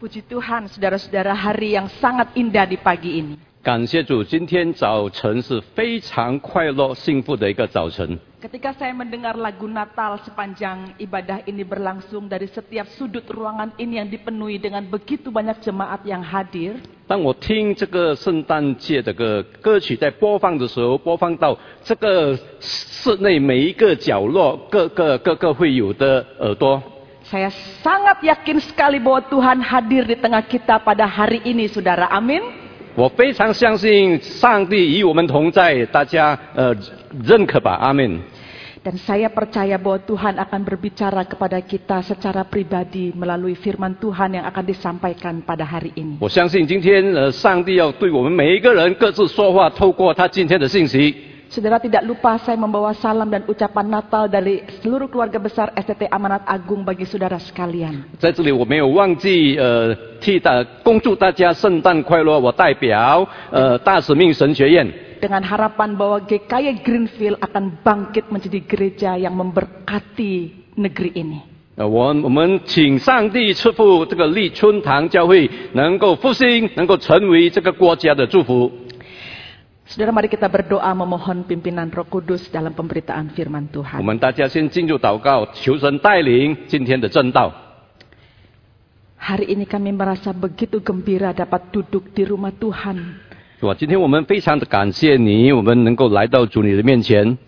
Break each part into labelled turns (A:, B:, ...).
A: Puji Tuhan, saudara-saudara, hari yang sangat indah di pagi ini.
B: 感谢主，今天早晨是非常快乐、幸福的一个早晨。
A: Ketika saya mendengar lagu Natal sepanjang ibadah ini berlangsung dari setiap sudut ruangan ini yang dipenuhi dengan begitu banyak jemaat yang hadir,
B: 当我听这个圣诞节的歌歌曲在播放的时候，播放到这个室内每一个角落、各个各个会友的耳朵，
A: saya sangat yakin sekali bahwa Tuhan hadir di tengah kita pada hari ini, saudara. Amin.
B: 我非常相信上帝与我们同在，大家呃认可吧，阿门。
A: Dan saya percaya bahwa Tuhan akan berbicara kepada kita secara pribadi melalui firman Tuhan yang akan disampaikan pada hari ini.
B: 我相信今天呃上帝要对我们每一个人各自说话，透过他今天的信息。
A: Saudara tidak lupa saya membawa salam dan ucapan Natal dari seluruh keluarga besar STT Amanat Agung bagi saudara sekalian.
B: 在这里我没有忘记呃替大恭祝大家圣诞快乐，我代表呃大使命神学院，
A: Dengan harapan bahwa GKY Greenfield akan bangkit menjadi gereja yang memberkati negeri ini.
B: 呃我我们请上帝赐福这个立春堂教会能够复兴，能够成为这个国家的祝福。
A: Saudara mari kita berdoa memohon pimpinan Roh Kudus dalam pemberitaan firman
B: 我
A: Tuhan.
B: 们大家先进入祷告，求神带领今天的正道。
A: Hari ini kami merasa begitu gembira dapat duduk di rumah Tuhan.
B: 是啊吧？今天我们非常的感谢你，我们能够来到主你的面前。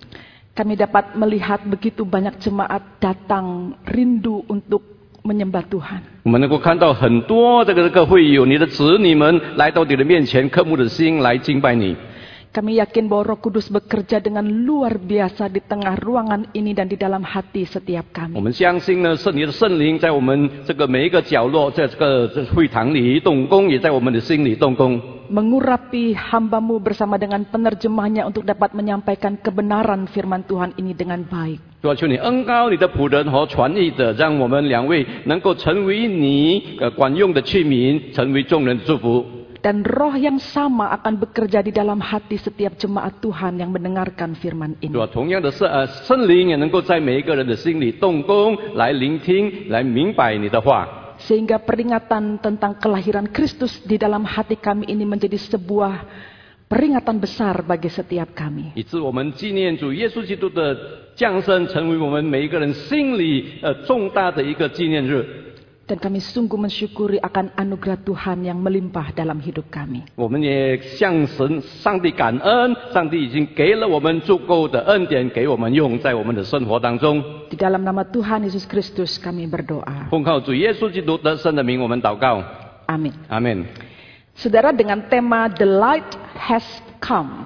A: Kami dapat melihat begitu banyak jemaat datang rindu untuk menyembah Tuhan.
B: 我们能够看到很多这个这个会友，你的子女们来到你的面前，渴慕的心来敬拜你。
A: Kami yakin bahwa Roh Kudus bekerja dengan luar biasa di tengah ruangan ini dan di dalam hati setiap
B: 我
A: kami.
B: 们相信呢，是你的圣灵在我们这个每一个角落，在这个这会堂里动工，也在我们的心里动工。
A: Mengurapi hambamu bersama dengan penerjemahnya untuk dapat menyampaikan kebenaran firman Tuhan ini dengan baik.
B: 主啊，求你恩高你的仆人和传译者，让我们两位能够成为你呃管用的器皿，成为众人的祝福。
A: Dan roh yang sama akan bekerja di dalam hati setiap jemaat Tuhan yang mendengarkan firman
B: 主
A: ini.
B: 啊，同样的是呃，圣灵也能够在每一个人的心里动工，来聆听，来明白你的话。
A: Sehingga peringatan tentang kelahiran Kristus di dalam hati kami ini menjadi sebuah peringatan besar bagi setiap kami.
B: 以致我们纪念主耶稣基督的降生，成为我们每一个人心里呃重大的一个纪念日。
A: Dan kami sungguh mensyukuri akan anugerah Tuhan yang melimpah dalam hidup kami.
B: 我们也向神、上帝感恩，上帝已经给了我们足够的恩典，给我们用在我们的生活当中。
A: Di dalam nama Tuhan Yesus Kristus kami berdoa.
B: 奉靠主耶稣基督得胜的名，我们祷告，
A: Amin.
B: 阿门。
A: Saudara dengan tema The Light Has Come.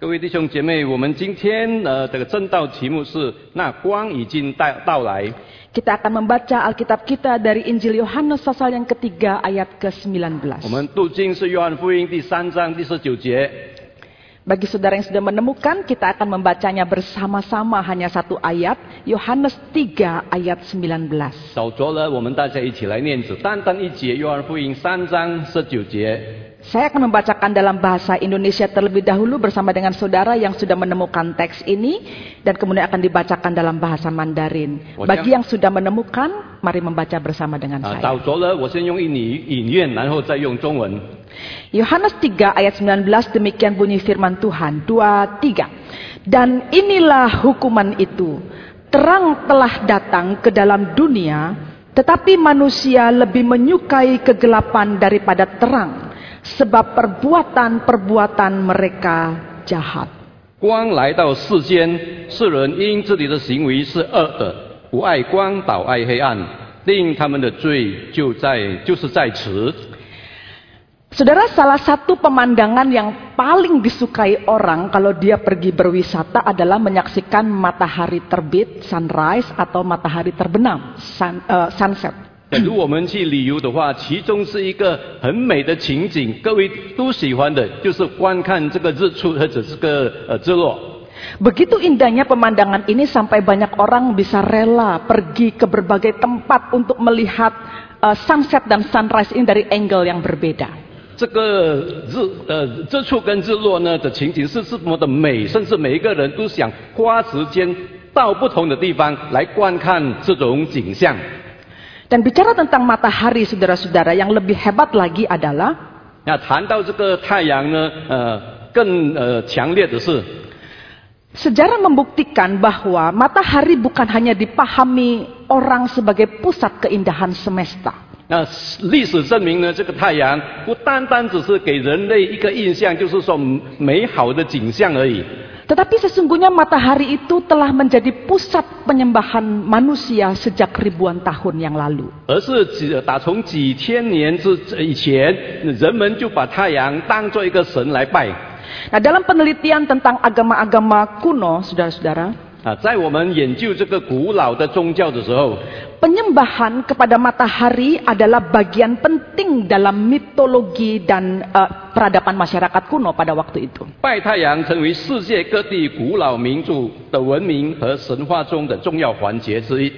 B: 各位弟兄姐妹，我们今天呃这个正道题目是“那光已经到到来
A: Kita akan membaca Alkitab kita dari Injil Yohanes pasal yang ketiga ayat ke-19. ”，
B: 我们读经是约翰福音第三章第十九节。
A: Bagi saudara yang sudah menemukan, kita akan membacanya bersama-sama hanya satu ayat, Yohanes 3 ayat 19.
B: 少着了，我们大家一起来念子，单单一节《约翰福音》三章十九节。
A: Saya akan membacakan dalam bahasa Indonesia terlebih dahulu bersama dengan saudara yang sudah menemukan teks ini dan kemudian akan dibacakan dalam bahasa Mandarin.
B: Wajah. Nah,
A: Bagi yang sudah menemukan, mari membaca bersama dengan
B: 啊，
A: saya.
B: 少着了，我先用印尼引愿，然后再用中文。
A: Yohanes 3 ayat 19 demikian bunyi firman Tuhan. 2 3. Dan inilah hukuman itu. Terang telah datang ke dalam dunia, tetapi manusia lebih menyukai kegelapan daripada terang, sebab perbuatan-perbuatan mereka jahat.
B: 光来到世间，世人因自己的行为是恶的，不爱光，倒爱黑暗，令他们的罪就在就是在此。
A: Saudara, salah satu pemandangan yang paling disukai orang kalau dia pergi berwisata adalah menyaksikan matahari terbit, sunrise, atau matahari terbenam, sun- eh, sunset.
B: 假如我们去旅游的话，其中是一个很美的情景，各位都喜欢的，就是观看这个日出或者这个呃日落。
A: Begitu indahnya pemandangan ini sampai banyak orang bisa rela pergi ke berbagai tempat untuk melihat eh, sunset dan sunrise ini dari angle yang berbeda.
B: 这个日呃日出跟日落呢的情景是这么的美，甚至每一个人都想花时间到不同的地方来观看这种景象。
A: Dan bicara tentang matahari saudara-saudara yang lebih hebat lagi adalah
B: 那谈到这个太阳呢，呃，更呃强烈的是，
A: sejarah membuktikan bahwa matahari bukan hanya dipahami orang sebagai pusat keindahan semesta.
B: 那历史证明呢，这个太阳不单单只是给人类一个印象，就是说美好的景象而已。
A: Tetapi sesungguhnya matahari itu telah menjadi pusat penyembahan manusia sejak ribuan tahun yang lalu.
B: 而是几打从几千年之以前，人们就把太阳当做一个神来拜
A: Nah, dalam penelitian tentang agama-agama kuno, saudara-saudara,
B: 啊。在我们研究这个古老的宗教的时候，
A: penyembahan kepada matahari adalah bagian penting dalam mitologi dan eh, peradaban masyarakat kuno pada waktu itu.
B: 拜太阳成为世界各地古老民族的文明和神话中的重要环节之一。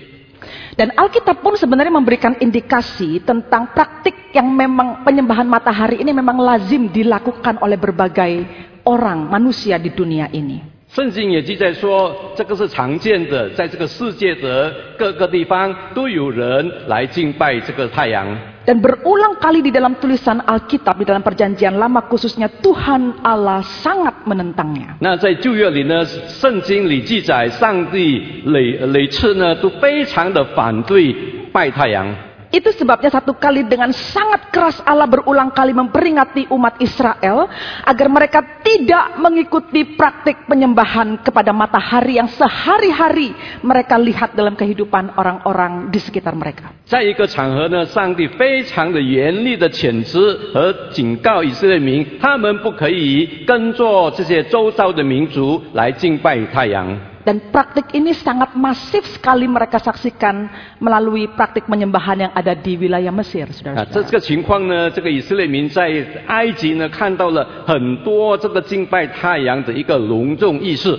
A: Dan Alkitab pun sebenarnya memberikan indikasi tentang praktik yang memang penyembahan matahari ini memang lazim dilakukan oleh berbagai orang manusia di dunia ini.
B: 圣经也记载说，这个是常见的，在这个世界的各个地方都有人来敬拜这个太阳。
A: Dan berulang kali di dalam tulisan Alkitab di dalam perjanjian lama khususnya Tuhan Allah sangat menentangnya.
B: 那在旧约里呢，圣经里记载，上帝屡屡次呢都非常的反对拜太阳。
A: Itu sebabnya satu kali dengan sangat keras Allah berulang kali memperingati umat Israel agar mereka tidak mengikuti praktik penyembahan kepada matahari yang sehari-hari mereka lihat dalam kehidupan orang-orang di sekitar mereka.
B: 在一个场合呢，上帝非常的严厉的谴责和警告以色列民，他们不可以跟着这些周遭的民族来敬拜太阳。
A: Dan praktik ini sangat masif sekali mereka saksikan melalui praktik penyembahan yang ada di wilayah Mesir,
B: 啊，这
A: saudara-saudara.
B: 这个情况呢，这个以色列民在埃及呢看到了很多这个敬拜太阳的一个隆重仪式。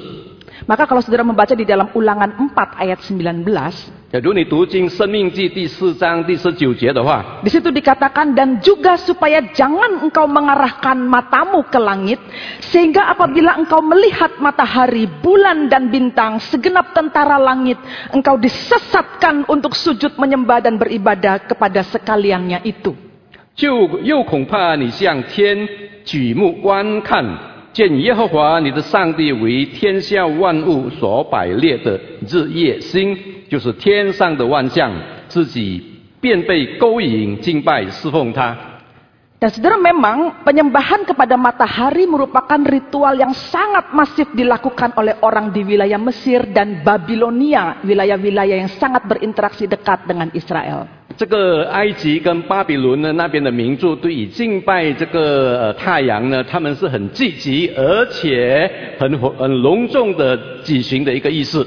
A: Maka kalau saudara membaca di dalam Ulangan 4 ayat 19,
B: 假如你读经《生命记》第四章第十九节的话，
A: Di situ dikatakan dan juga supaya jangan engkau mengarahkan matamu ke langit sehingga apabila engkau melihat matahari, bulan dan bintang segenap tentara langit engkau disesatkan untuk sujud menyembah dan beribadah kepada sekaliannya itu.
B: 就又恐怕你向天举目观看，见耶和华你的上帝为天下万物所摆列的日夜星，就是天上的万象，自己便被勾引敬拜侍奉他。
A: Dan saudara memang penyembahan kepada matahari merupakan ritual yang sangat masif dilakukan oleh orang di wilayah Mesir dan Babilonia, wilayah-wilayah yang sangat berinteraksi dekat dengan Israel.
B: 这个埃及跟巴比伦呢那边的民族对以敬拜这个、呃、太阳呢，他们是很积极而且很很隆重的举行的一个仪式。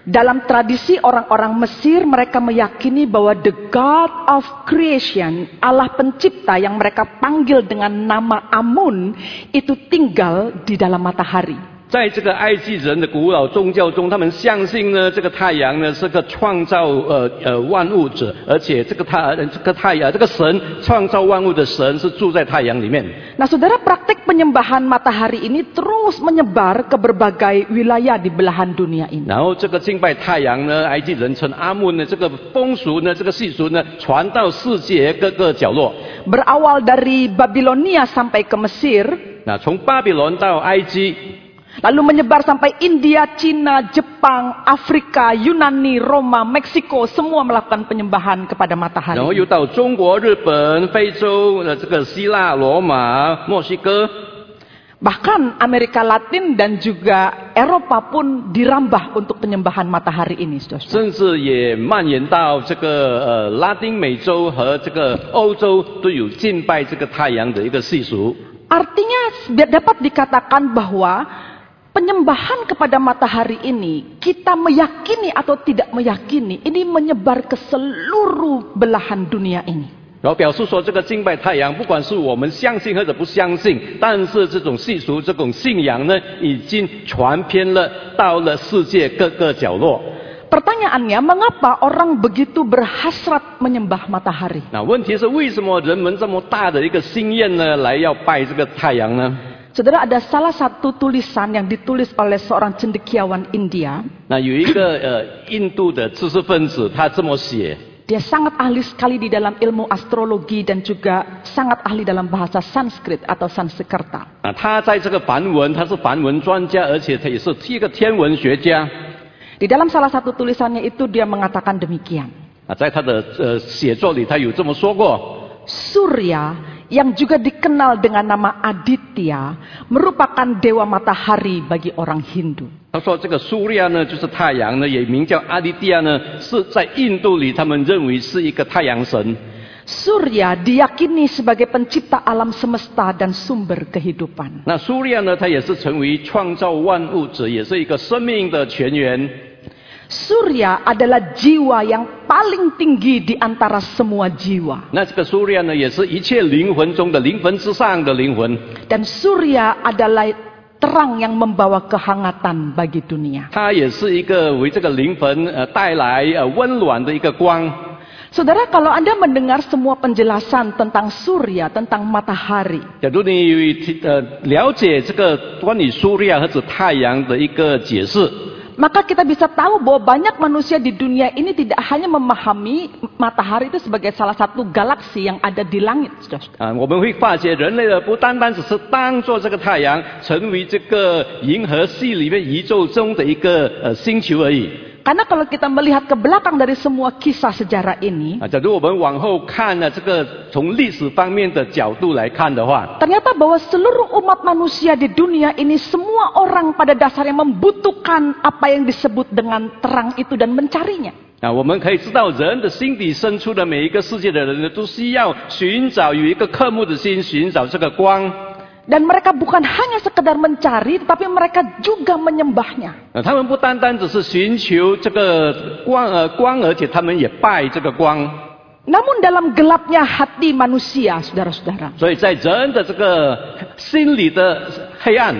A: Dalam tradisi orang-orang Mesir, mereka meyakini bahwa the God of creation, Allah pencipta yang mereka panggil dengan nama Amun, itu tinggal di dalam matahari.
B: 在这个埃及人的古老宗教中，他们相信呢，这个太阳呢是个创造呃呃万物者，而且这个太呃这个太阳这个神创造万物的神是住在太阳里面。
A: Nah, saudara, praktik penyembahan matahari ini terus menyebar ke berbagai wilayah di belahan dunia ini.
B: 然后这个敬拜太阳呢，埃及人称阿木呢，这个风俗呢，这个习俗呢，传到世界各个角落。
A: Berawal dari Babilonia sampai ke Mesir,
B: 那从巴比伦到埃及，
A: lalu menyebar sampai India, Cina, Jepang, Afrika, Yunani, Roma, Meksiko, semua melakukan penyembahan kepada matahari.
B: 然后又到中国、日本、非洲呃这个希腊、罗马、墨西哥，
A: Bahkan Amerika Latin dan juga Eropa pun dirambah untuk penyembahan matahari ini, saudara.
B: 甚至也蔓延到这个呃拉丁美洲和这个欧洲都有敬拜这个太阳的一个习俗。
A: Artinya biar dapat dikatakan bahwa penyembahan kepada matahari ini kita meyakini atau tidak meyakini ini menyebar ke seluruh belahan dunia ini.
B: 然后表示说，这个敬拜太阳，不管是我们相信或者不相信，但是这种习俗、这种信仰呢，已经传遍了到了世界各个角落。
A: Pertanyaannya, mengapa orang begitu berhasrat menyembah matahari?
B: 那问题是为什么人们这么大的一个心愿呢，来要拜这个太阳呢？
A: Saudara, ada salah satu tulisan yang ditulis oleh seorang cendekiawan India
B: 那有一个呃印度的知识分子，他这么写，
A: Dia sangat ahli sekali di dalam ilmu astrologi dan juga sangat ahli dalam bahasa Sanskrit atau Sansekerta.
B: 啊，他在这个梵文，他是梵文专家，而且他也是一个天文学家。
A: Di dalam salah satu tulisannya itu dia mengatakan demikian.
B: 啊，在他的呃写作里，他有这么说过：
A: Surya yang juga dikenal dengan nama Aditya merupakan dewa matahari bagi orang Hindu.
B: 他说这个苏利亚呢，就是太阳呢，也名叫阿迪蒂亚呢，是在印度里他们认为是一个太阳神。
A: Surya diyakini sebagai pencipta alam semesta dan sumber kehidupan.
B: 那苏利亚呢，他也是成为创造万物者，也是一个生命的泉源。
A: Surya adalah jiwa yang paling tinggi di antara semua jiwa.
B: 那这个苏利亚呢，也是一切灵魂中的灵魂之上的灵魂，
A: Dan Surya adalah terang yang membawa kehangatan bagi dunia.
B: 它也是一个为这个灵魂呃带来呃温暖的一个光。
A: Saudara, kalau Anda mendengar semua penjelasan tentang Surya, tentang matahari,
B: 假如你呃了解这个关于苏利亚和指太阳的一个解释，
A: maka kita bisa tahu bahwa banyak manusia di dunia ini tidak hanya memahami matahari itu sebagai salah satu galaksi yang ada di langit. saudara.
B: 啊，我们会发现人类的不单单只是当做这个太阳成为这个银河系里面宇宙中的一个呃星球而已
A: Karena kalau kita melihat ke belakang dari semua kisah sejarah ini,
B: 啊。假如我们往后看呢，这个从历史方面的角度来看的话，
A: ternyata bahwa seluruh umat manusia di dunia ini semua orang pada dasarnya membutuhkan apa yang disebut dengan terang itu dan mencarinya.
B: 啊，我们可以知道人的心底深处的每一个世界的人呢，都需要寻找有一个渴慕的心，寻找这个光。
A: Dan mereka bukan hanya sekedar mencari, tapi mereka juga menyembahnya.
B: 呃，他们不单单只是寻求这个光，呃，光，而且他们也拜这个光。
A: Namun dalam gelapnya hati manusia, saudara-saudara,
B: 所以在人的这个心里的黑暗，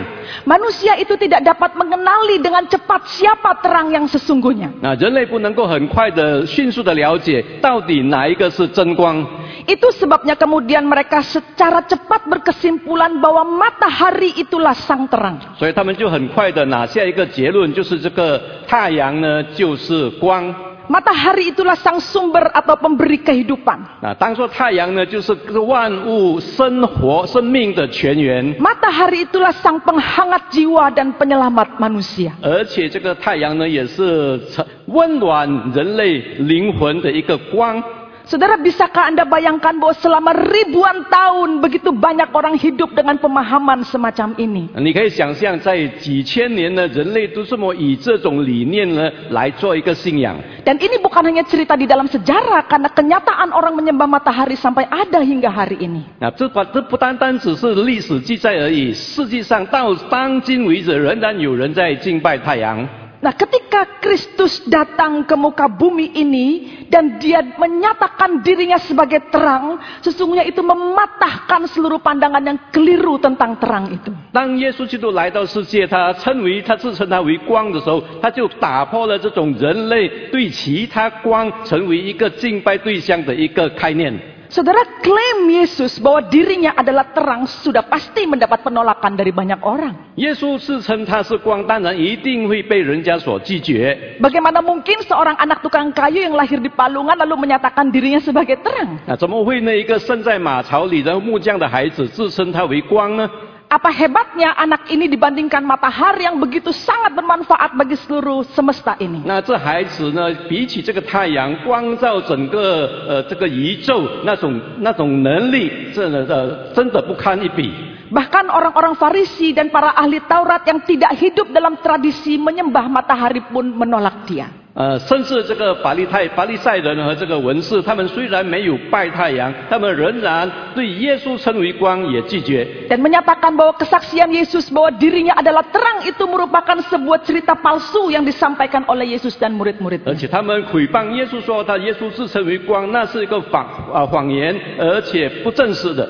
A: Manusia itu tidak dapat mengenali dengan cepat siapa terang yang sesungguhnya.
B: 那人类不能够很快的、迅速的了解到底哪一个是真光。
A: Itu sebabnya kemudian mereka secara cepat berkesimpulan bahwa matahari itulah sang terang.
B: 所以他们就很快的拿下一个结论，就是这个太阳呢就是光。
A: Matahari itulah sang sumber atau pemberi kehidupan.
B: 啊，当做太阳呢就是万物生活、生命的泉源。
A: Matahari itulah sang penghangat jiwa dan penyelamat manusia.
B: 而且这个太阳呢，也是成温暖人类灵魂的一个光。
A: Saudara, bisakah Anda bayangkan bahwa selama ribuan tahun begitu banyak orang hidup dengan pemahaman semacam ini?
B: 啊你可以想象，在几千年呢，人类都这么以这种理念呢来做一个信仰。
A: Dan ini bukan hanya cerita di dalam sejarah karena kenyataan orang menyembah matahari sampai ada hingga hari ini.
B: 啊，这不这不单单只是历史记载而已，实际上到当今为止，仍然有人在敬拜太阳。
A: Nah, ketika Kristus datang ke muka bumi ini dan dia menyatakan dirinya sebagai terang, sesungguhnya itu mematahkan seluruh pandangan yang keliru tentang terang itu.
B: 当耶稣基督来到世界，他称为他自称他为光的时候，他就打破了这种人类对其他光成为一个敬拜对象的一个概念。
A: Saudara, klaim Yesus bahwa dirinya adalah terang sudah pasti mendapat penolakan dari banyak orang.
B: 耶稣自称他是光，当然一定会被人家所拒绝。
A: Bagaimana mungkin seorang anak tukang kayu yang lahir di Palungan lalu menyatakan dirinya sebagai terang?
B: 啊，怎么会呢？一个生在马槽里的木匠的孩子自称他为光呢？
A: Apa hebatnya anak ini dibandingkan matahari yang begitu sangat bermanfaat bagi seluruh semesta ini?
B: 那这孩子呢，比起这个太阳光照整个呃这个宇宙那种那种能力，真的呃真的不堪一比。
A: Bahkan orang-orang Farisi dan para ahli Taurat yang tidak hidup dalam tradisi menyembah matahari pun menolak dia.
B: 呃，甚至这个法利泰、法利赛人和这个文士，他们虽然没有拜太阳，他们仍然对耶稣称为光也拒绝。
A: Dan menyatakan bahwa kesaksian Yesus bahwa dirinya adalah terang itu merupakan sebuah cerita palsu yang disampaikan oleh Yesus dan
B: 而
A: murid-muridnya.
B: 且他们诽谤耶稣说他耶稣自称为光，那是一个谎啊、谎言，而且不正式的。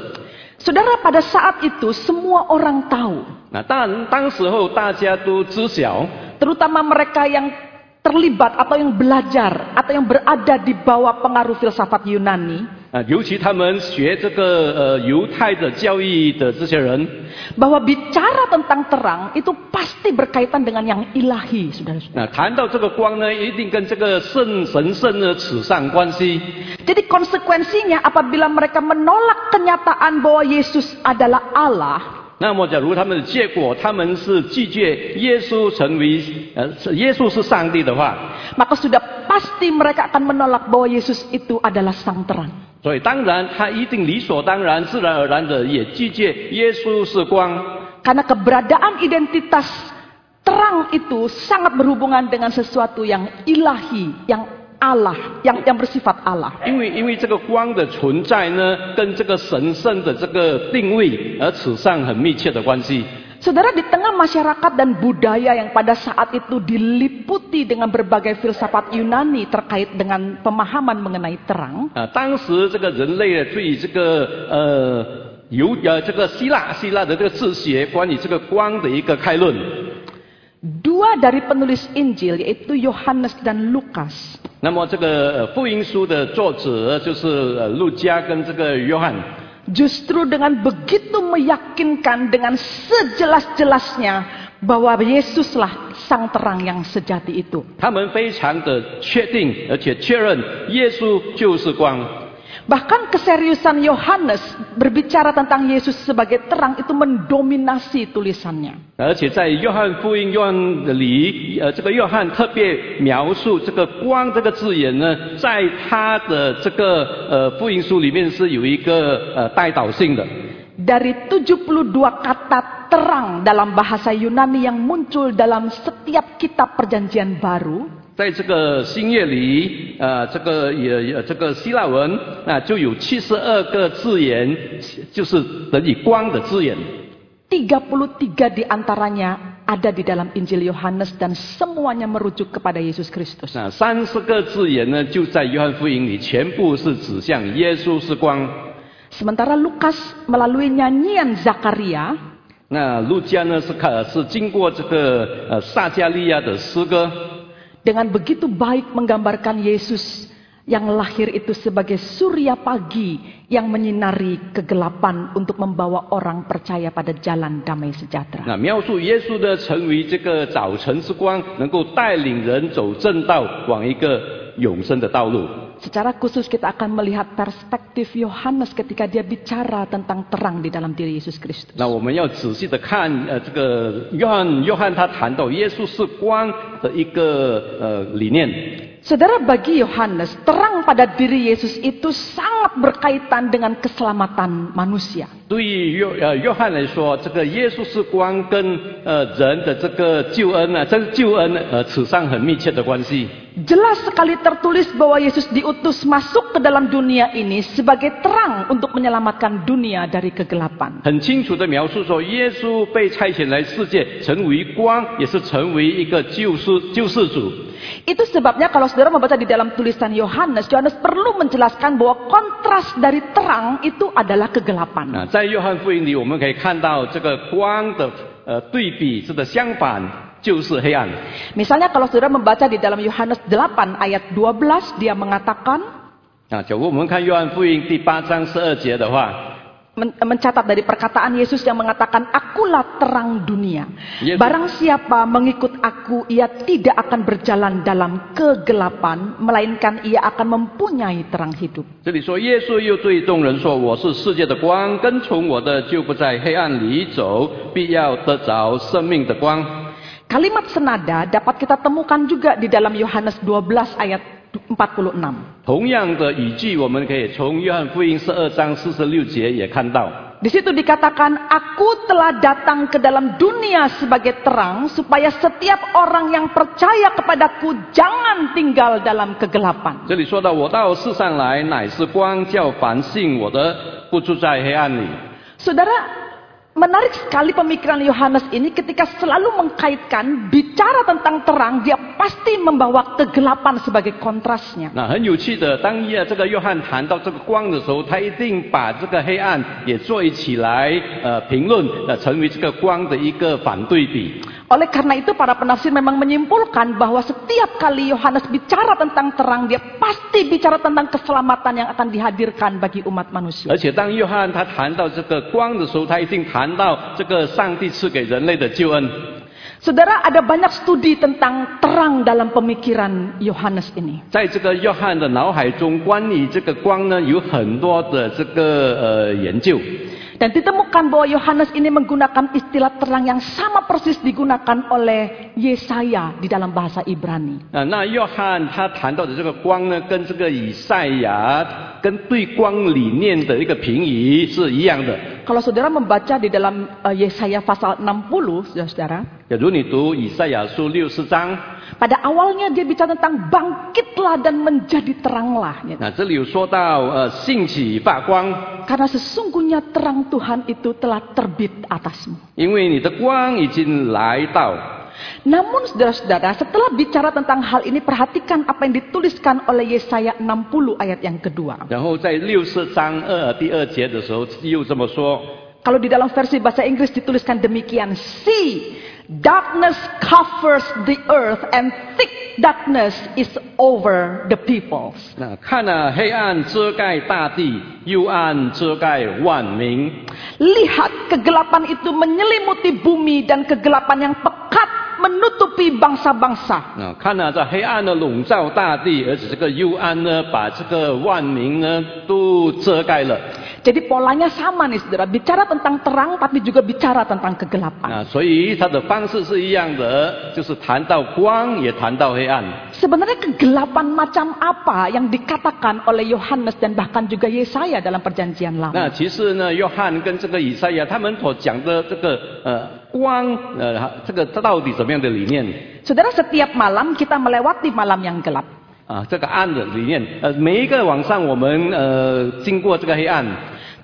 A: Saudara pada saat itu semua orang tahu
B: 那但当时候大家都知晓，
A: terutama mereka yang terlibat atau yang belajar atau yang berada di bawah pengaruh filsafat Yunani,
B: 啊，尤其他们学这个呃犹太的教义的这些人，
A: Bahwa bicara tentang terang itu pasti berkaitan dengan yang ilahi, saudara-saudara.
B: 那、谈到这个光呢，一定跟这个圣神圣呢扯上关系。
A: Jadi konsekuensinya apabila mereka menolak kenyataan bahwa Yesus adalah Allah,
B: 那么，假如他们的结果，他们是拒绝耶稣成为呃，是耶稣是上帝的话，
A: maka sudah pasti mereka akan menolak bahwa Yesus itu adalah sang terang.
B: 所以当然他一定理所当然、自然而然的也拒绝耶稣是光。
A: Karena keberadaan identitas terang itu sangat berhubungan dengan sesuatu yang ilahi, yang Allah, yang yang bersifat Allah.
B: 因为因为这个光的存在呢，跟这个神圣的这个定位而扯上很密切的关系。
A: Saudara di tengah masyarakat dan budaya yang pada saat itu diliputi dengan berbagai filsafat Yunani terkait dengan pemahaman mengenai terang,
B: 啊，当时这个人类对这个呃犹呃这个希腊希腊的这个哲学关于这个光的一个开论。
A: dua dari penulis Injil yaitu Yohanes dan Lukas
B: 那么这个呃福音书的作者就是呃路加跟这个约翰，
A: justru dengan begitu meyakinkan dengan sejelas-jelasnya bahwa Yesuslah sang terang yang sejati itu.
B: 他们非常的确定而且确认耶稣就是光。
A: Bahkan keseriusan Yohanes berbicara tentang Yesus sebagai terang itu mendominasi tulisannya.
B: 而且呃在约翰福音约翰的里，呃，这个约翰特别描述这个“光”这个字眼呢，在他的这个呃福音书里面是有一个呃带导性的。
A: Dari 72 kata terang dalam bahasa Yunani yang muncul dalam setiap kitab perjanjian baru,
B: 在这个新月里，呃，这个也也这个希腊文啊、就有七十二个字眼，就是等于光的字眼。
A: 33 diantaranya ada di dalam Injil Yohanes dan semuanya merujuk kepada Yesus Kristus.
B: 那啊三十个字眼呢，就在约翰福音里全部是指向耶稣是光。
A: Sementara Lukas melalui nyanyian Zakaria
B: 那路加呢是看是经过这个呃撒加利亚的诗歌，
A: dengan begitu baik menggambarkan Yesus yang lahir itu sebagai surya pagi yang menyinari kegelapan untuk membawa orang percaya pada jalan damai sejahtera.
B: 那描述耶稣呢成为这个早晨之光，能够带领人走正道，往一个永生的道路。
A: Secara khusus kita akan melihat perspektif Yohanes ketika dia bicara tentang terang di dalam diri Yesus Kristus.
B: 那我们要仔细的看，呃，这个约翰约翰他谈到耶稣是光的一个呃理念。
A: Saudara bagi Yohanes, terang pada diri Yesus itu sangat berkaitan dengan keselamatan manusia.
B: 对于约呃约翰来说，这个耶稣是光跟呃人的这个救恩啊，这个救恩呃扯上很密切的关系。
A: Jelas sekali tertulis bahwa Yesus diutus masuk ke dalam dunia ini sebagai terang untuk menyelamatkan dunia dari kegelapan.
B: 很清楚的描述说，耶稣被差遣来世界，成为光，也是成为一个救世救世主。
A: Itu sebabnya kalau saudara membaca di dalam tulisan Yohanes, Yohanes perlu menjelaskan bahwa kontras dari terang itu adalah
B: 那
A: kegelapan.
B: 啊在约翰福音里，我们可以看到这个光的呃对比，这个相反就是黑暗。
A: Misalnya kalau saudara membaca di dalam Yohanes 8 ayat 12, dia mengatakan,
B: 啊，假如我们看约翰福音第八章十二节的话，
A: men- mencatat dari perkataan Yesus yang mengatakan, Akulah terang dunia.
B: Yesus-
A: Barang siapa mengikut aku, ia tidak akan berjalan dalam kegelapan, melainkan ia akan mempunyai terang hidup.
B: 这里说耶稣又对众人说：“我是世界的光，跟从我的就不在黑暗里走，必要得着生命的光。”
A: Kalimat senada dapat kita temukan juga di dalam Yohanes 12 ayat 46.
B: 同样的语句，我们可以从约翰福音十二章四十六节也看到。
A: Di situ dikatakan, "Aku telah datang ke dalam dunia sebagai terang supaya setiap orang yang percaya kepadaku jangan tinggal dalam kegelapan."
B: 这里说到：“我到世上来，乃是光，叫凡信我的，不住在黑暗里。
A: Saudara, menarik sekali pemikiran Yohanes ini ketika selalu mengkaitkan bicara tentang terang, dia pasti membawa kegelapan sebagai kontrasnya. ”
B: 那很有趣的，当耶这个约翰谈到这个光的时候，他一定把这个黑暗也做一起来呃评论，呃成为这个光的一个反对比。
A: Oleh karena itu para penafsir memang menyimpulkan bahwa setiap kali Yohanes bicara tentang terang, dia pasti bicara tentang keselamatan yang akan dihadirkan bagi umat manusia.
B: 而且当约翰他谈到这个光的时候，他一定谈到这个上帝赐给人类的救恩。
A: Saudara, ada banyak studi tentang terang dalam pemikiran Yohanes ini.
B: 在这个约翰的脑海中，关于这个光呢，有很多的这个呃研究。
A: Dan ditemukan bahwa Yohanes ini menggunakan istilah terang yang sama persis digunakan oleh Yesaya di dalam bahasa Ibrani.
B: 啊，那约翰他谈到的这个光呢，跟这个以赛亚跟对光理念的一个评语是一样的。
A: Kalau saudara membaca di dalam eh, Yesaya pasal 60, saudara,
B: 假如你读以赛亚书六十章，
A: pada awalnya dia bicara tentang bangkitlah dan menjadi teranglah. gitu.
B: 那这里有说到呃兴起发光，
A: Karena sesungguhnya terang Tuhan itu telah terbit atasmu.
B: 因为你的光已经来到。
A: Namun saudara-saudara, setelah bicara tentang hal ini, perhatikan apa yang dituliskan oleh Yesaya 60 ayat yang kedua.
B: 然后在六十章二第二节的时候又这么说，
A: Kalau di dalam versi bahasa Inggris dituliskan demikian, See, darkness covers the earth and thick darkness is over the peoples.
B: 那看啊，黑暗遮盖大地，幽暗遮盖万民。
A: Lihat kegelapan itu menyelimuti bumi dan kegelapan yang pekat menutupi bangsa-bangsa.
B: 啊，看啊，这黑暗呢笼罩大地，而且这个幽暗呢，把这个万民呢都遮盖了。
A: Jadi polanya sama nih saudara, bicara tentang terang tapi juga bicara tentang kegelapan.
B: 啊，所以它的方式是一样的，就是谈到光，也谈到黑暗。
A: Sebenarnya kegelapan macam apa yang dikatakan oleh Yohanes dan bahkan juga Yesaya dalam perjanjian lama?
B: 那其实呢，约翰跟这个以赛亚他们所讲的这个呃光呃这个这到底怎么样的理念
A: Saudara setiap malam kita melewati malam yang gelap.
B: 啊？这个暗的理念，呃，每一个晚上我们呃经过这个黑暗，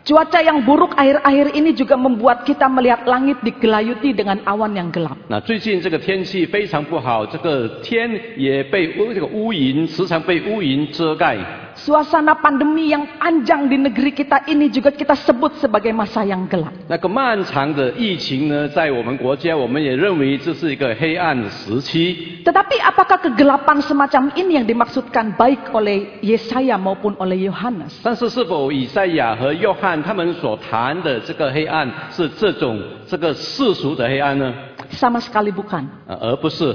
A: Cuaca yang buruk akhir-akhir ini juga membuat kita melihat langit digelayuti dengan awan yang gelap.
B: 那最近这个天气非常不好，这个天也被乌这个乌云时常被乌云遮盖。
A: Suasana pandemi yang panjang di negeri kita ini juga kita sebut sebagai masa yang gelap.
B: 那个漫长的疫情呢，在我们国家，我们也认为这是一个黑暗时期。
A: Tetapi apakah kegelapan semacam ini yang dimaksudkan baik oleh Yesaya maupun oleh Yohanes?
B: 但是，是否以赛亚和约翰他们所谈的这个黑暗是这种这个世俗的黑暗呢？
A: Sama sekali bukan.
B: 呃而不是。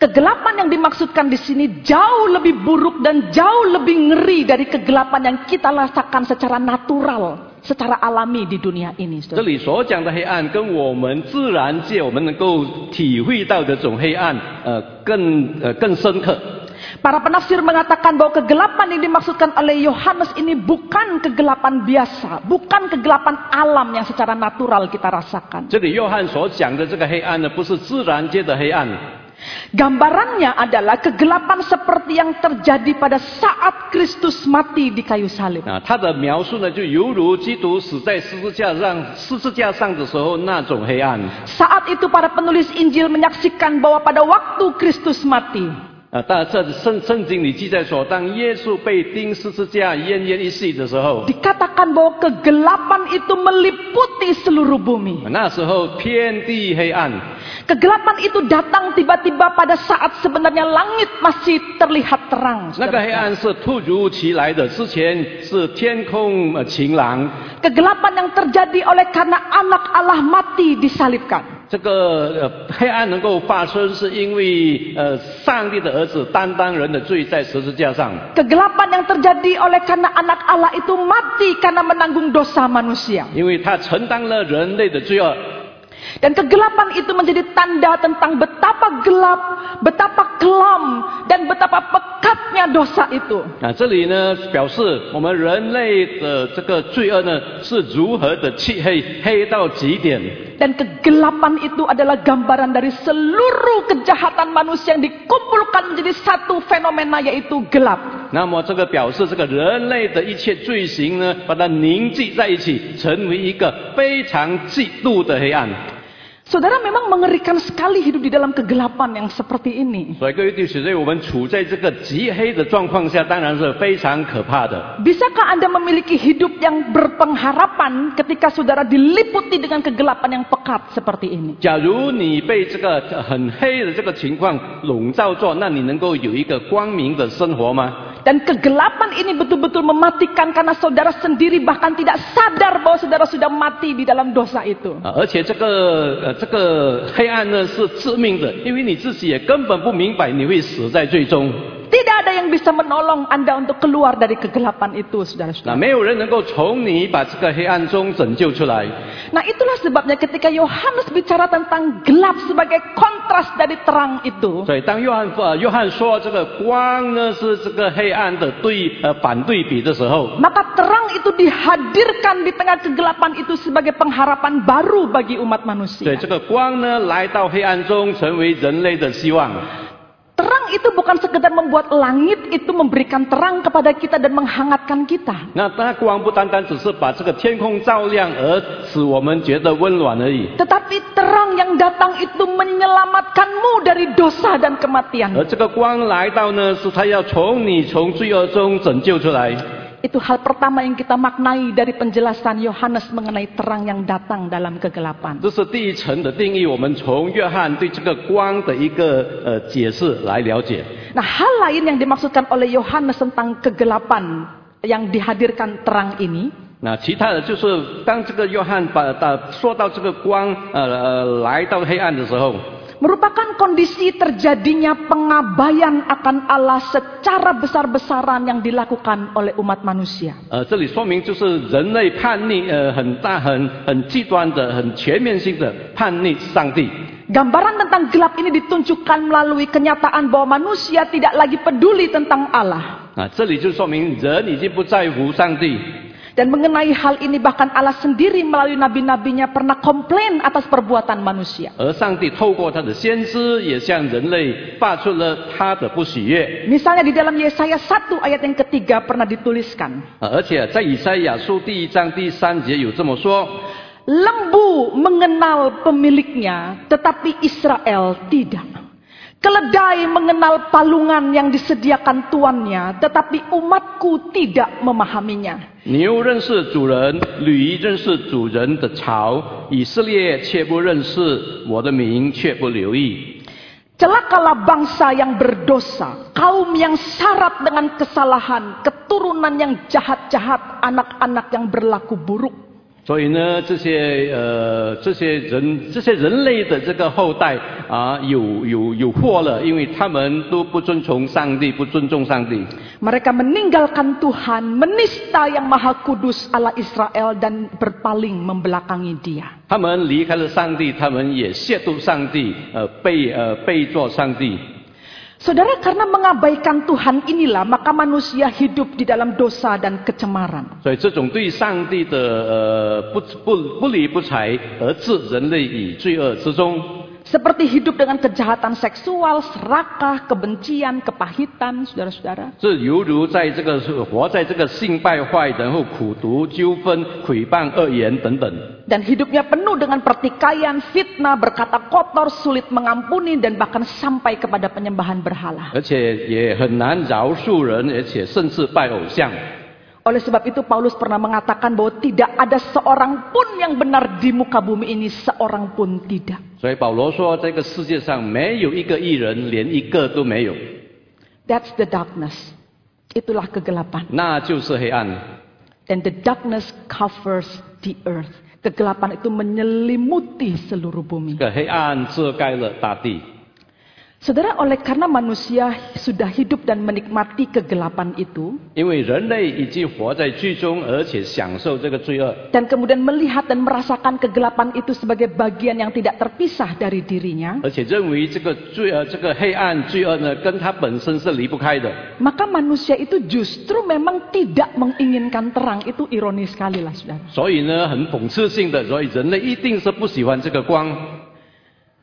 A: Kegelapan yang dimaksudkan di sini jauh lebih buruk dan jauh lebih ngeri dari kegelapan yang kita rasakan secara natural, secara alami di dunia ini.
B: 这
A: saudara.
B: 里所讲的黑暗，跟我们自然界我们能够体会到的这种黑暗，呃，更呃更深刻。
A: Para penafsir mengatakan bahwa kegelapan yang dimaksudkan oleh Yohanes ini bukan kegelapan biasa, bukan kegelapan alam yang secara natural kita rasakan.
B: 这里约翰所讲的这个黑暗呢，不是自然界的黑暗，
A: Gambarannya adalah kegelapan seperti yang terjadi pada saat Kristus mati di kayu salib.
B: 啊，他的描述呢，就犹如基督死在十字架上，十字架上的时候那种黑暗。
A: Saat itu para penulis Injil menyaksikan bahwa pada waktu Kristus mati,
B: 啊，但这圣圣经里记载说，当耶稣被钉十字架奄奄一息的时候，
A: dikatakan bahwa kegelapan itu meliputi seluruh bumi.
B: 那时候遍地黑暗，
A: Kegelapan itu datang tiba-tiba pada saat sebenarnya langit masih terlihat terang.
B: 那个黑
A: saudara-saudara.
B: 暗是突如其来的。之前是天空呃晴朗，
A: Kegelapan yang terjadi oleh karena anak Allah mati disalibkan.
B: 这个呃黑暗能够发生，是因为呃上帝的儿子担当人的罪在十字架上。
A: Kegelapan yang terjadi oleh karena anak Allah itu mati karena menanggung dosa manusia.
B: 因为他承担了人类的罪恶，
A: Dan kegelapan itu menjadi tanda tentang betapa gelap, betapa kelam, dan betapa pekatnya dosa itu.
B: 啊，这里呢表示我们人类的这个罪恶呢是如何的漆黑，黑到极点。
A: Dan kegelapan itu adalah gambaran dari seluruh kejahatan manusia yang dikumpulkan menjadi satu fenomena yaitu gelap.
B: 那么这个表示这个人类的一切罪行呢，把它凝聚在一起，成为一个非常极度的黑暗。
A: Saudara memang mengerikan sekali hidup di dalam kegelapan yang seperti ini.
B: 所以各位弟兄姊妹，我们处在这个极黑的状况下，当然是非常可怕的。
A: Bisakah Anda memiliki hidup yang berpengharapan ketika saudara diliputi dengan kegelapan yang pekat seperti ini?
B: 假如你被这个呃很黑的这个情况笼罩住，那你能够有一个光明的生活吗？
A: Dan kegelapan ini betul-betul mematikan karena saudara sendiri bahkan tidak sadar bahwa saudara sudah mati di dalam dosa itu.
B: 啊，而且这个呃这个黑暗呢是致命的，因为你自己也根本不明白你会死在最终。
A: Tidak ada yang bisa menolong Anda untuk keluar dari kegelapan itu,
B: 那
A: saudara-saudara.
B: 没有人能够从你把这个黑暗中拯救出来。
A: Nah, itulah sebabnya ketika Yohanes bicara tentang gelap sebagai kontras dari terang itu,
B: 所以当约翰呃约翰说这个光呢是这个黑暗的对呃反对比的时候，
A: maka terang itu dihadirkan di tengah kegelapan itu sebagai pengharapan baru bagi umat
B: 对
A: manusia.
B: 这个光呢来到黑暗中成为人类的希望。
A: Terang itu bukan sekedar membuat langit itu memberikan terang kepada kita dan menghangatkan kita.
B: 那它光不单单只是把这个天空照亮，而使我们觉得温暖而已。
A: Tetapi terang yang datang itu menyelamatkanmu dari dosa dan
B: 而
A: kematian.
B: 这个光来到呢，是它要从你从罪恶中拯救出来。
A: Itu hal pertama yang kita maknai dari penjelasan Yohanes mengenai terang yang datang dalam kegelapan.
B: 这是第一层的定义。我们从约翰对这个光的一个呃解释来了解。
A: Nah, hal lain yang dimaksudkan oleh Yohanes tentang kegelapan yang dihadirkan terang ini
B: 那其他的就是，当这个约翰把把说到这个光呃呃来到黑暗的时候，
A: merupakan kondisi terjadinya pengabaian akan Allah secara besar-besaran yang dilakukan oleh umat manusia.
B: 呃，这里说明就是人类叛逆呃很大很很极端的、很全面性的叛逆上帝。
A: Gambaran tentang gelap ini ditunjukkan melalui kenyataan bahwa manusia tidak lagi peduli tentang Allah.
B: 啊，这里就说明人已经不在乎上帝。
A: Dan mengenai hal ini bahkan Allah sendiri melalui nabi-nabinya pernah komplain atas perbuatan manusia.
B: 而上帝透过他的先知，也向人类发出了他的不喜悦。
A: Misalnya di dalam Yesaya 1 ayat yang ketiga pernah dituliskan.
B: 啊而且在以赛亚书第一章第三节有这么说：
A: Lembu mengenal pemiliknya, tetapi Israel tidak. Keledai mengenal palungan yang disediakan tuannya, tetapi umatku tidak memahaminya.
B: 牛认识主人，驴认识主人的槽，以色列却不认识我的名，却不留意。
A: Celakalah bangsa yang berdosa, kaum yang syarat dengan kesalahan, keturunan yang jahat-jahat, anak-anak yang berlaku buruk.
B: 所以呢，这些呃，这些人，这些人类的这个后代啊，有有有祸了，因为他们都不遵从上帝，不尊重上帝。
A: Mereka meninggalkan Tuhan, menista yang maha kudus ala Israel dan berpaling membelakangi dia.
B: 他们离开了上帝，他们也亵渎上帝，呃，背呃背作上帝。
A: Saudara, karena mengabaikan Tuhan inilah maka manusia hidup di dalam dosa dan kecemaran.
B: 所以这种对上帝的呃不不不理不睬，而置人类于罪恶之中，
A: Seperti hidup dengan kejahatan seksual, serakah, kebencian, kepahitan, saudara-saudara.
B: 这犹如在这个活在这个性败坏，然后苦读、纠纷、诽谤、恶言等等。
A: Dan hidupnya penuh dengan pertikaian, fitnah, berkata kotor, sulit mengampuni, dan bahkan sampai kepada penyembahan berhala.
B: 而且也很难饶恕人，而且甚至拜偶像。
A: Oleh sebab itu Paulus pernah mengatakan bahwa tidak ada seorang pun yang benar di muka bumi ini, seorang pun tidak.
B: 所以保罗说，这个世界上没有一个艺人，连一个都没有，
A: That's the darkness. Itulah kegelapan.
B: 那就是黑暗。
A: And the darkness covers the earth. Kegelapan itu menyelimuti seluruh
B: 这
A: bumi.
B: 个黑暗遮盖了大地。
A: Saudara, oleh karena manusia sudah hidup dan menikmati kegelapan itu,
B: 因为人类已经活在剧中，而且享受这个罪恶，
A: dan kemudian melihat dan merasakan kegelapan itu sebagai bagian yang tidak terpisah dari dirinya,
B: 而且认为这个罪恶、这个黑暗、罪恶呢，跟它本身是离不开的。
A: maka manusia itu justru memang tidak menginginkan terang. Itu ironi sekali lah, saudara.
B: 所以呢，很讽刺性的，所以人类一定是不喜欢这个光。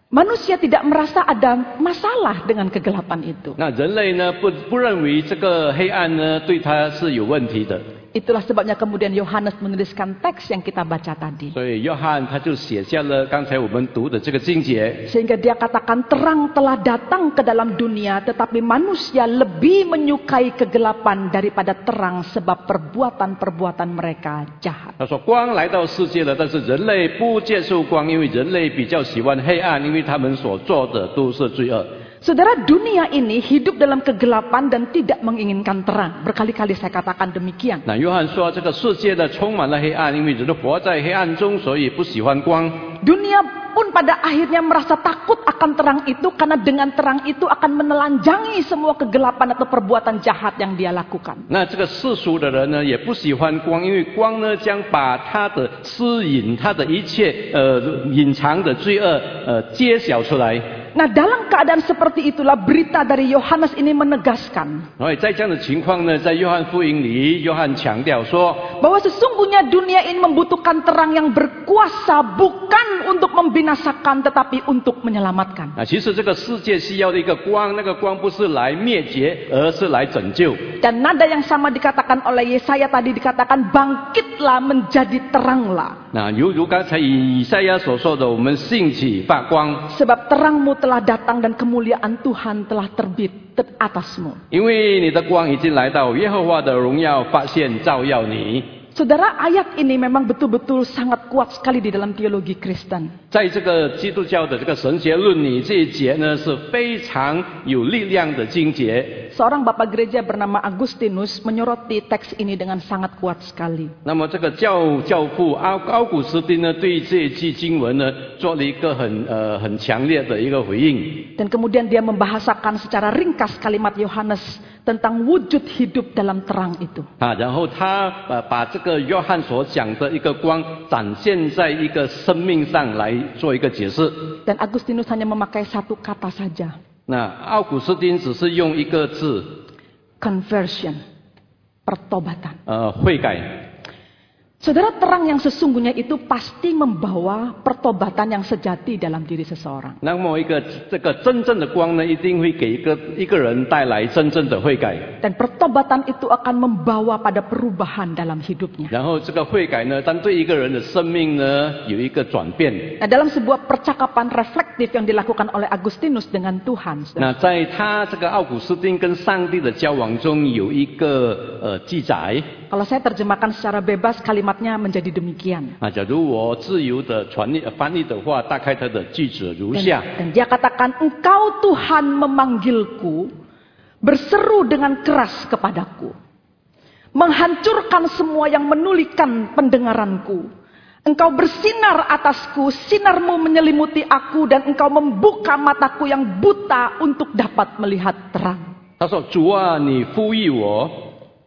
A: Manusia tidak merasa ada masalah dengan kegelapan itu.
B: 那人类呢，不不认为这个黑暗呢对它是有问题的。
A: Itulah sebabnya kemudian Yohanes menuliskan teks yang kita baca tadi.
B: 所以约翰他就写下了刚才我们读的这个经节。
A: Sehingga dia katakan terang telah datang ke dalam dunia tetapi manusia lebih menyukai kegelapan daripada terang sebab perbuatan-perbuatan mereka jahat.
B: 他说：“光来到世界了，但是人类不接受光，因为人类比较喜欢黑暗，因为他们所做的都是罪恶。
A: Saudara dunia ini hidup dalam kegelapan dan tidak menginginkan terang. Berkali-kali saya katakan demikian. ”
B: 那约翰说：“这个世界呢，充满了黑暗，因为人活在黑暗中，所以不喜欢光。
A: Dunia pun pada akhirnya merasa takut akan terang itu karena dengan terang itu akan menelanjangi semua kegelapan atau perbuatan jahat yang dia lakukan.
B: 那这个世俗的人呢，也不喜欢光，因为光呢，将把他的私隐、他的一切呃隐藏的罪恶呃揭晓出来。
A: Nah, dalam keadaan seperti itulah berita dari Yohanes ini menegaskan ”
B: 所以在这样的情况呢，在约翰福音里，约翰强调说，
A: bahwa sesungguhnya dunia ini membutuhkan terang yang berkuasa bukan untuk membinasakan tetapi untuk menyelamatkan.
B: 啊，其实这个世界需要的一个光，那个光不是来灭绝，而是来拯救。
A: Dan nada yang sama dikatakan oleh Yesaya tadi dikatakan bangkitlah menjadi teranglah.
B: 那犹如刚才以以赛亚所说的，我们兴起发光，
A: Sebab terangmu telah datang dan kemuliaan Tuhan telah terbit te- atasmu.
B: 因为你的光已经来到，耶和华的荣耀发现照耀你。
A: Saudara, ayat ini memang betul-betul sangat kuat sekali di dalam teologi Kristen.
B: 在这个基督教的这个神学论里，这一节呢是非常有力量的经节。
A: Seorang bapak gereja bernama Agustinus menyoroti teks ini dengan sangat kuat sekali.
B: 那么这个教教父奥奥古斯丁呢，对这一句经文呢做了一个很呃很强烈的一个回应。
A: Dan kemudian dia membahasakan secara ringkas kalimat Yohanes tentang wujud hidup dalam terang itu.
B: 啊，然后他呃把这个约翰所讲的一个光展现在一个生命上来做一个解释。
A: Dan Agustinus hanya memakai satu kata saja,
B: 那奥古斯丁只是用一个字，
A: conversion, pertobatan.
B: 呃，悔改。
A: Saudara terang yang sesungguhnya itu pasti membawa pertobatan yang sejati dalam diri seseorang.
B: 那么一个这个真正的光呢，一定会给一个一个人带来真正的悔改，
A: Dan pertobatan itu akan membawa pada perubahan dalam hidupnya.
B: 然后这个悔改呢，当对一个人的生命呢有一个转变。
A: Nah, dalam sebuah percakapan reflektif yang dilakukan oleh Agustinus dengan Tuhan, saudara,
B: 那在他这个奥古斯丁跟上帝的交往中有一个呃记载
A: kalau saya terjemahkan secara bebas kalimatnya menjadi demikian.
B: 啊，假如我自由的传译呃翻译的话，大概它的句子如
A: Dan,
B: 下：
A: dan dia katakan, "Engkau Tuhan memanggilku, berseru dengan keras kepadaku, menghancurkan semua yang menulikan pendengaranku. Engkau bersinar atasku, sinarmu menyelimuti aku dan engkau membuka mataku yang buta untuk dapat melihat terang."
B: 他说：“主啊，你呼吁我，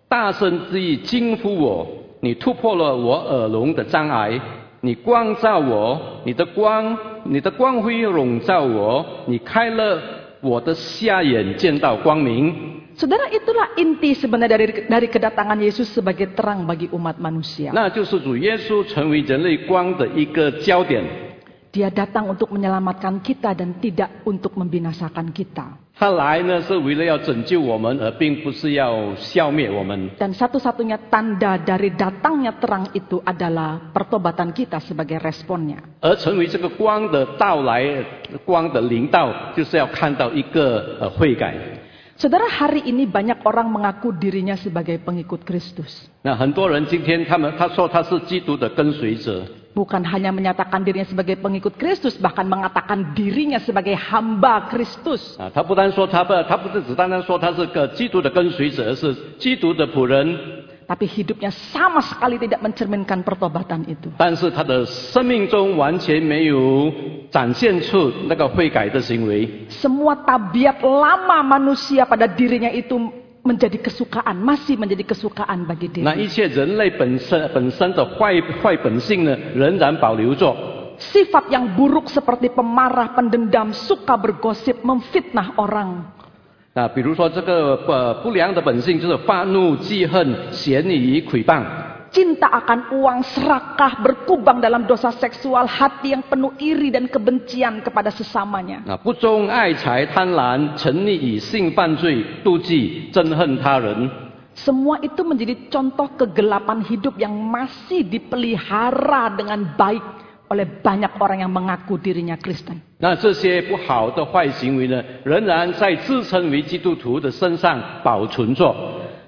B: 大声之意惊呼我，你突破了我耳聋的障碍，你光照我，你的光，你的光辉笼罩我，你开了我的瞎眼，见到光明。”
A: Saudara, itulah inti sebenarnya dari dari kedatangan Yesus sebagai terang bagi umat manusia.
B: 那就是主耶稣成为人类光的一个焦点，
A: Dia datang untuk menyelamatkan kita dan tidak untuk membinasakan kita.
B: 他来呢是为了要拯救我们，而并不是要消灭我们。
A: Dan satu-satunya tanda dari datangnya terang itu adalah pertobatan kita sebagai responnya.
B: 而成为这个光的到来，光的领导，就是要看到一个呃悔改。
A: Saudara, hari ini banyak orang mengaku dirinya sebagai pengikut Kristus.
B: 那很多人今天他们他说他是基督的跟随者，
A: Bukan hanya menyatakan dirinya sebagai pengikut Kristus, bahkan mengatakan dirinya sebagai hamba Kristus.
B: 啊，他不单说他不他不是只单单说他是个基督的跟随者，而是基督的仆人，
A: Tapi hidupnya sama sekali tidak mencerminkan pertobatan itu.
B: 但是他的生命中完全没有展现出那个悔改的行为。
A: Semua tabiat lama manusia pada dirinya itu menjadi kesukaan, masih menjadi kesukaan bagi dia.
B: 那一切人类本身本身的坏坏本性呢，仍然保留着。
A: Sifat yang buruk seperti pemarah, pendendam, suka bergosip, memfitnah orang.
B: 啊，比如说这个呃不良的本性就是发怒、记恨、嫌疑、诽谤，
A: Cinta akan uang, serakah, berkubang dalam dosa seksual, hati yang penuh iri dan kebencian kepada sesamanya.
B: 啊不忠、爱财、贪婪、沉溺于性犯罪、妒忌、憎恨他人。
A: Semua itu menjadi contoh kegelapan hidup yang masih dipelihara dengan baik oleh banyak orang yang mengaku dirinya Kristen.
B: 那这些不好的坏行为呢，仍然在自称为基督徒的身上保存着。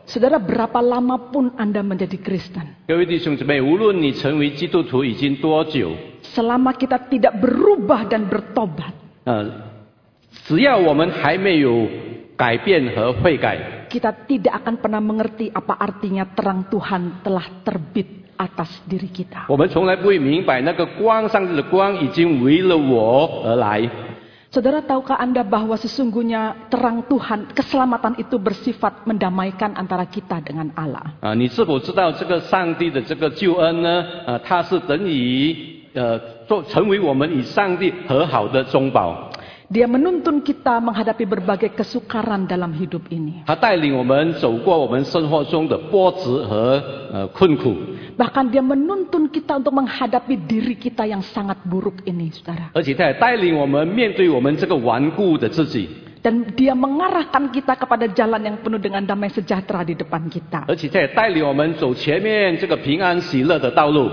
A: Saudara, berapa lama pun Anda menjadi Kristen,
B: 各位弟兄姊妹，无论你成为基督徒已经多久，
A: selama kita tidak berubah dan bertobat,
B: 呃，只要我们还没有改变和悔改，
A: kita tidak akan pernah mengerti apa artinya terang Tuhan telah terbit atas diri kita.
B: 我们从来不会明白那个光上帝的光已经为了我而来。
A: Saudara, tahukah Anda bahwa sesungguhnya terang Tuhan, keselamatan itu bersifat mendamaikan antara kita dengan Allah.
B: 啊，你是否知道这个上帝的这个救恩呢？啊，它是等于呃做成为我们与上帝和好的中保，
A: Dia menuntun kita menghadapi berbagai kesukaran dalam hidup ini.
B: 它带领我们走过我们生活中的波折和呃困苦，
A: Bahkan dia menuntun kita untuk menghadapi diri kita yang sangat buruk ini, saudara.
B: 而且它也带领我们面对我们这个顽固的自己，
A: Dan dia mengarahkan kita kepada jalan yang penuh dengan damai sejahtera di depan kita.
B: 而且它也带领我们走前面这个平安喜乐的道路。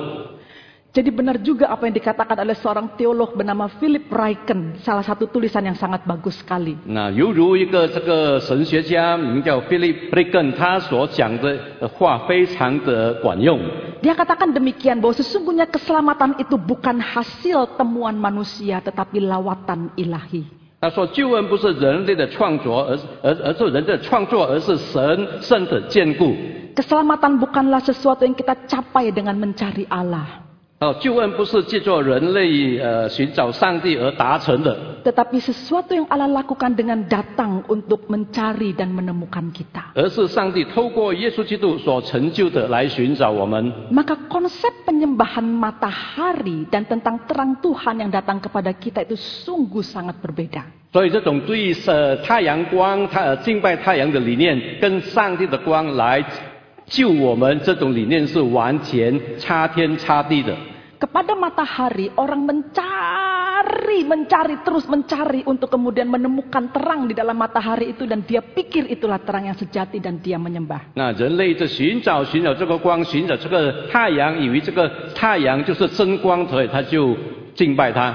A: Jadi benar juga apa yang dikatakan oleh seorang teolog bernama Philip Ryken, salah satu tulisan yang sangat bagus sekali.
B: 那犹如一个这个神学家名叫 Philip Briggen，他所讲的话非常的管用。
A: Dia katakan demikian bahwa sesungguhnya keselamatan itu bukan hasil temuan manusia tetapi lawatan ilahi.
B: 他说：“救恩不是人类的创作，而是而而是人的创作，而是神圣的眷顾。
A: Keselamatan bukanlah sesuatu yang kita capai dengan mencari Allah,
B: 哦，救恩不是借助人类呃寻找上帝而达成的，
A: tetapi sesuatu yang Allah lakukan dengan datang untuk mencari dan menemukan kita.
B: 而是上帝透过耶稣基督所成就的来寻找我们。
A: Maka konsep penyembahan matahari dan tentang terang Tuhan yang datang kepada kita itu sungguh sangat berbeda.
B: 所以，这种对呃太阳光、太呃敬拜太阳的理念，跟上帝的光来救我们这种理念是完全差天差地的。”
A: Kepada matahari orang mencari, mencari terus mencari untuk kemudian menemukan terang di dalam matahari itu dan dia pikir itulah terang yang sejati dan dia menyembah.
B: 那人类在寻找寻找这个光，寻找这个太阳，以为这个太阳就是真光，所以他就敬拜它。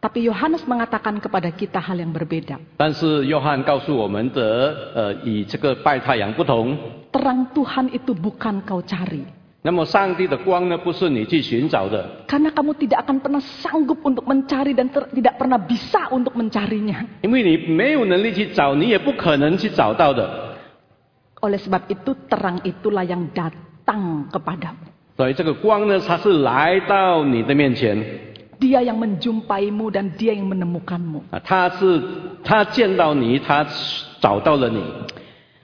A: Tapi Yohanes mengatakan kepada kita hal yang berbeda.
B: 但是约翰告诉我们的，呃，与这个拜太阳不同。
A: Terang Tuhan itu bukan kau cari.
B: 那么上帝的光呢，不是你去寻找的，
A: Karena kamu tidak akan pernah sanggup untuk mencari dan ter- tidak pernah bisa untuk mencarinya.
B: 因为你没有能力去找，你也不可能去找到的。
A: Oleh sebab itu terang itulah yang datang kepadamu.
B: 所以这个光呢，它是来到你的面前
A: Dia yang menjumpaimu dan dia yang menemukanmu.
B: 啊，它是它见到你，它找到了你。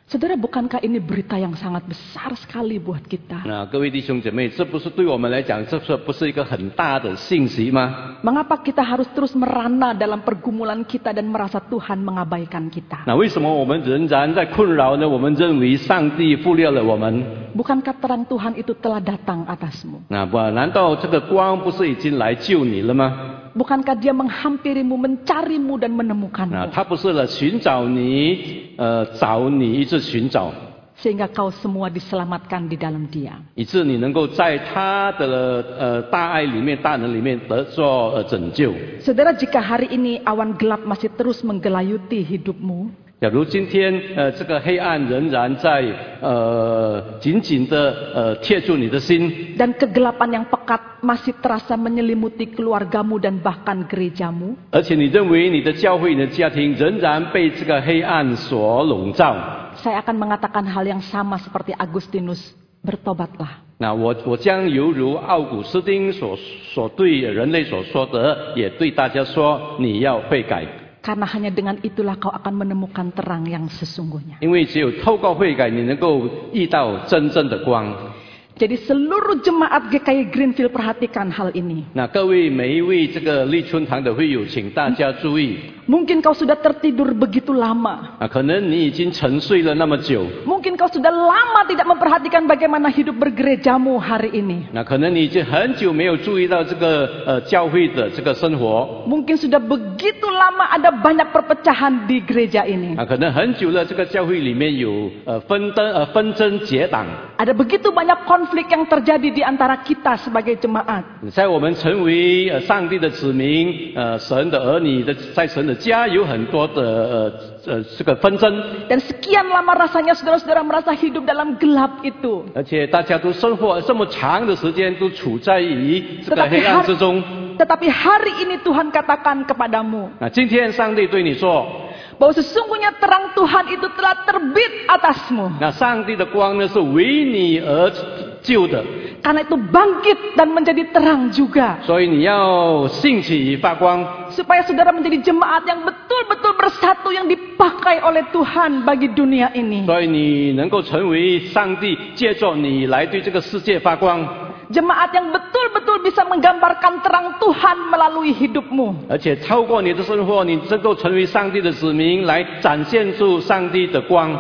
A: Saudara, bukankah ini berita yang sangat besar sekali buat kita?
B: 那各位弟兄姐妹，这不是对我们来讲，这是不是一个很大的信息吗？
A: Mengapa kita harus terus merana dalam pergumulan kita dan merasa Tuhan mengabaikan kita?
B: 那为什么我们仍然在困扰呢？我们认为上帝忽略了我们。
A: Bukankah terang Tuhan itu telah datang atasmu?
B: 那不，难道这个光不是已经来救你了吗？
A: Bukankah Dia menghampirimu, mencarimu, dan
B: 那
A: menemukanmu?
B: 他不是来寻找你，呃，找你一直寻找，
A: Sehingga kau semua diselamatkan di dalam Dia.
B: 以致你能够在他的呃大爱里面、大能里面得做呃拯救。
A: Saudara, jika hari ini awan gelap masih terus menggelayuti hidupmu,
B: 假如今天呃这个黑暗仍然在呃紧紧的呃贴住你的心，
A: dan kegelapan yang pekat masih terasa menyelimuti keluargamu dan bahkan gerejamu,
B: 而且你认为你的教会、你的家庭仍然被这个黑暗所笼罩。
A: Saya akan mengatakan hal yang sama seperti Agustinus, bertobatlah.
B: 那我我将犹如奥古斯丁所所对人类所说的，也对大家说，你要悔改，
A: Karena hanya dengan itulah kau akan menemukan terang yang sesungguhnya.
B: 因为只有透过悔改，你能够遇到真正的光。
A: Jadi seluruh jemaat GKI Greenfield perhatikan hal ini.
B: 那各位每一位这个立春堂的会友，请大家注意
A: Mungkin kau sudah tertidur begitu lama.
B: 啊，可能你已经沉睡了那么久，
A: Mungkin kau sudah lama tidak memperhatikan bagaimana hidup bergerejamu hari ini.
B: 那可能你已经很久没有注意到这个呃教会的这个生活
A: Mungkin sudah begitu lama ada banyak perpecahan di gereja ini.
B: 啊，可能很久了这个教会里面有呃纷争呃纷争结党，
A: Ada begitu banyak konflik yang terjadi di antara kita sebagai jemaat.
B: 在我们成为呃上帝的子民呃神的儿女的在神的家有很多的呃呃这个纷争，
A: Dan sekian lama rasanya saudara-saudara merasa hidup dalam gelap itu.
B: 而且大家都生活这么长的时间都处在于这个
A: Tetapi
B: 黑暗
A: hari,
B: 之中。
A: tetapi hari ini Tuhan katakan kepadamu
B: 啊，今天上帝对你说，
A: bahwa sesungguhnya terang Tuhan itu telah terbit atasmu.
B: 那上帝的光呢是为你而救的，
A: Karena itu bangkit dan menjadi terang juga.
B: 所以你要兴起发光，
A: Supaya saudara menjadi jemaat yang betul-betul bersatu yang dipakai oleh Tuhan bagi dunia ini.
B: 所以你能够成为上帝借助你来对这个世界发光，
A: Jemaat yang betul-betul bisa menggambarkan terang Tuhan melalui hidupmu.
B: 而且透过你的生活，你能够成为上帝的子民，来展现出上帝的光。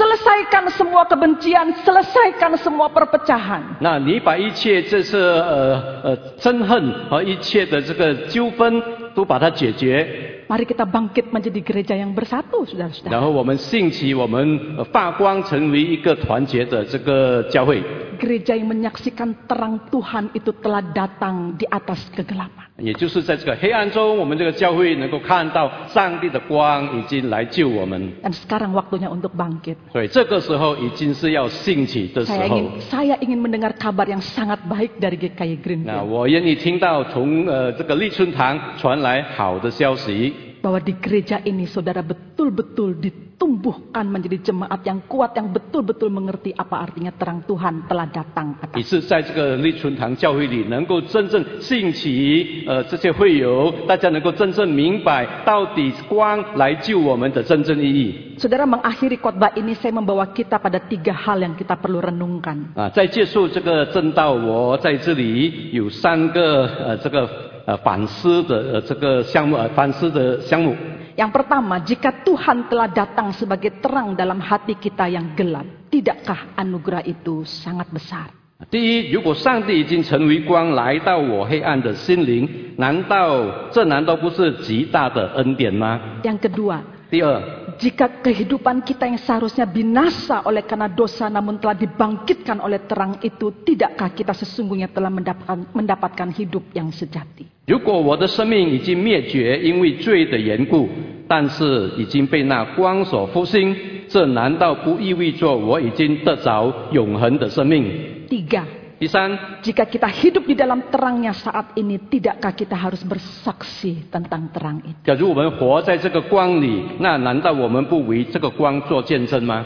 A: Selesaikan semua kebencian, selesaikan semua perpecahan.
B: 那你把一切这是呃呃憎恨和一切的这个纠纷都把它解决，
A: Mari kita bangkit menjadi gereja yang bersatu, saudara-saudara.
B: 然后我们兴起，我们呃发光，成为一个团结的这个教会。
A: Gereja yang menyaksikan terang Tuhan itu telah datang di atas kegelapan.
B: 也就是在这个黑暗中，我们这个教会能够看到上帝的光已经来救我们，
A: Dan sekarang waktunya untuk bangkit.
B: 所以这个时候已经是要兴起的时
A: Saya
B: 候
A: ingin。saya ingin mendengar kabar yang sangat baik dari GKI
B: 那
A: Greenfield
B: 我愿意听到从呃这个立春堂传来好的消息，
A: bahwa di gereja ini saudara betul-betul ditumbuhkan menjadi jemaat yang kuat yang betul-betul mengerti apa artinya terang Tuhan telah datang atas.
B: 以致在这个立春堂教会里能够真正兴起呃这些会友，大家能够真正明白到底光来救我们的真正意义。
A: Saudara mengakhiri khotbah ini saya membawa kita pada tiga hal yang kita perlu renungkan.
B: 啊，在结束这个正道，我在这里有三个呃这个呃反思的呃这个项目呃反思的项目。
A: Yang pertama, jika Tuhan telah datang sebagai terang dalam hati kita yang gelap, tidakkah anugerah itu sangat besar?
B: 第一，如果上帝已经成为光来到我黑暗的心灵，难道这难道不是极大的恩典吗？
A: Yang kedua,
B: 第二，
A: Jika kehidupan kita yang seharusnya binasa oleh karena dosa namun telah dibangkitkan oleh terang itu, tidakkah kita sesungguhnya telah mendapatkan, mendapatkan hidup yang sejati?
B: 如果我的生命已经灭绝，因为罪的缘故，但是已经被那光所复兴，这难道不意味着我已经得着永恒的生命？
A: Tiga,
B: 第三，
A: jika kita hidup di dalam terangnya saat ini, tidakkah kita harus bersaksi tentang terang itu?
B: 假如我们活在这个光里，那难道我们不为这个光做见证吗？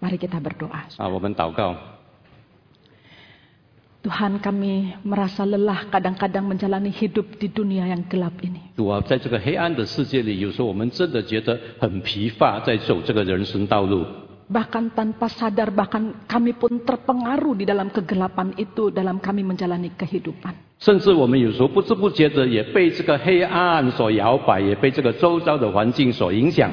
A: Mari kita berdoa.
B: 啊，我们祷告。
A: Tuhan kami merasa lelah kadang-kadang menjalani hidup di dunia yang gelap ini.
B: 主啊，在这个黑暗的世界里，有时候我们真的觉得很疲乏，在走这个人生道路。
A: Bahkan tanpa sadar, bahkan kami pun terpengaruh di dalam kegelapan itu dalam kami menjalani kehidupan.
B: 甚至我们有时候不知不觉的也被这个黑暗所摇摆，也被这个周遭的环境所影响。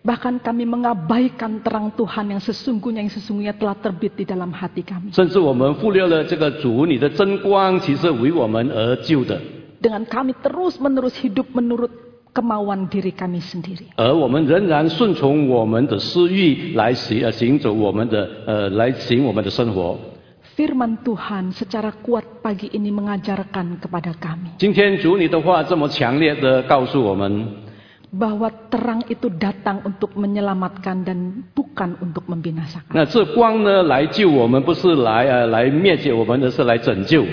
A: Bahkan kami mengabaikan terang Tuhan yang sesungguhnya yang sesungguhnya telah terbit di dalam hati kami.
B: 甚至我们忽略了这个主你的真光，其实为我们而救的，
A: Dengan kami terus-menerus hidup menurut kemauan diri kami sendiri.
B: 而我们仍然顺从我们的私欲来行呃行走我们的呃来行我们的生活。
A: Firman Tuhan secara kuat pagi ini mengajarkan kepada kami
B: 今天主你的话这么强烈的告诉我们，
A: bahwa terang itu datang untuk menyelamatkan dan bukan untuk membinasakan.
B: 那这光呢来救我们，不是来呃来灭绝我们，而是来拯救。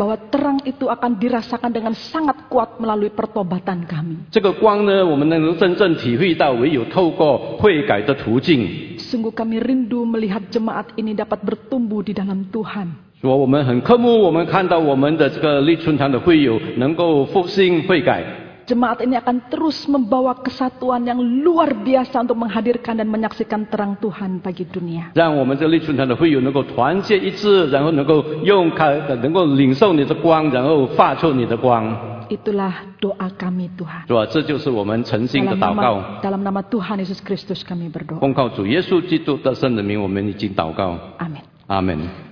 A: Bahwa terang itu akan dirasakan dengan sangat kuat melalui pertobatan kami.
B: 这个光呢，我们能够真正体会到，唯有透过悔改的途径。
A: Sungguh kami rindu melihat jemaat ini dapat bertumbuh di dalam Tuhan.
B: 说我们很渴慕，我们看到我们的这个立春堂的会友能够复兴悔改，
A: Jemaat ini akan terus membawa kesatuan yang luar biasa untuk menghadirkan dan menyaksikan terang Tuhan bagi dunia.
B: 让我们这类群团的会友能够团结一致，然后能够用开，能够领受你的光，然后发出你的光，
A: Itulah doa kami Tuhan.
B: 是吧？这就是我们诚心的
A: Dalam
B: 祷
A: nama,
B: 告。
A: dalam nama Tuhan Yesus Kristus kami berdoa.
B: 奉靠主耶稣基督的圣名，我们已经祷告，
A: Amin.
B: 阿门。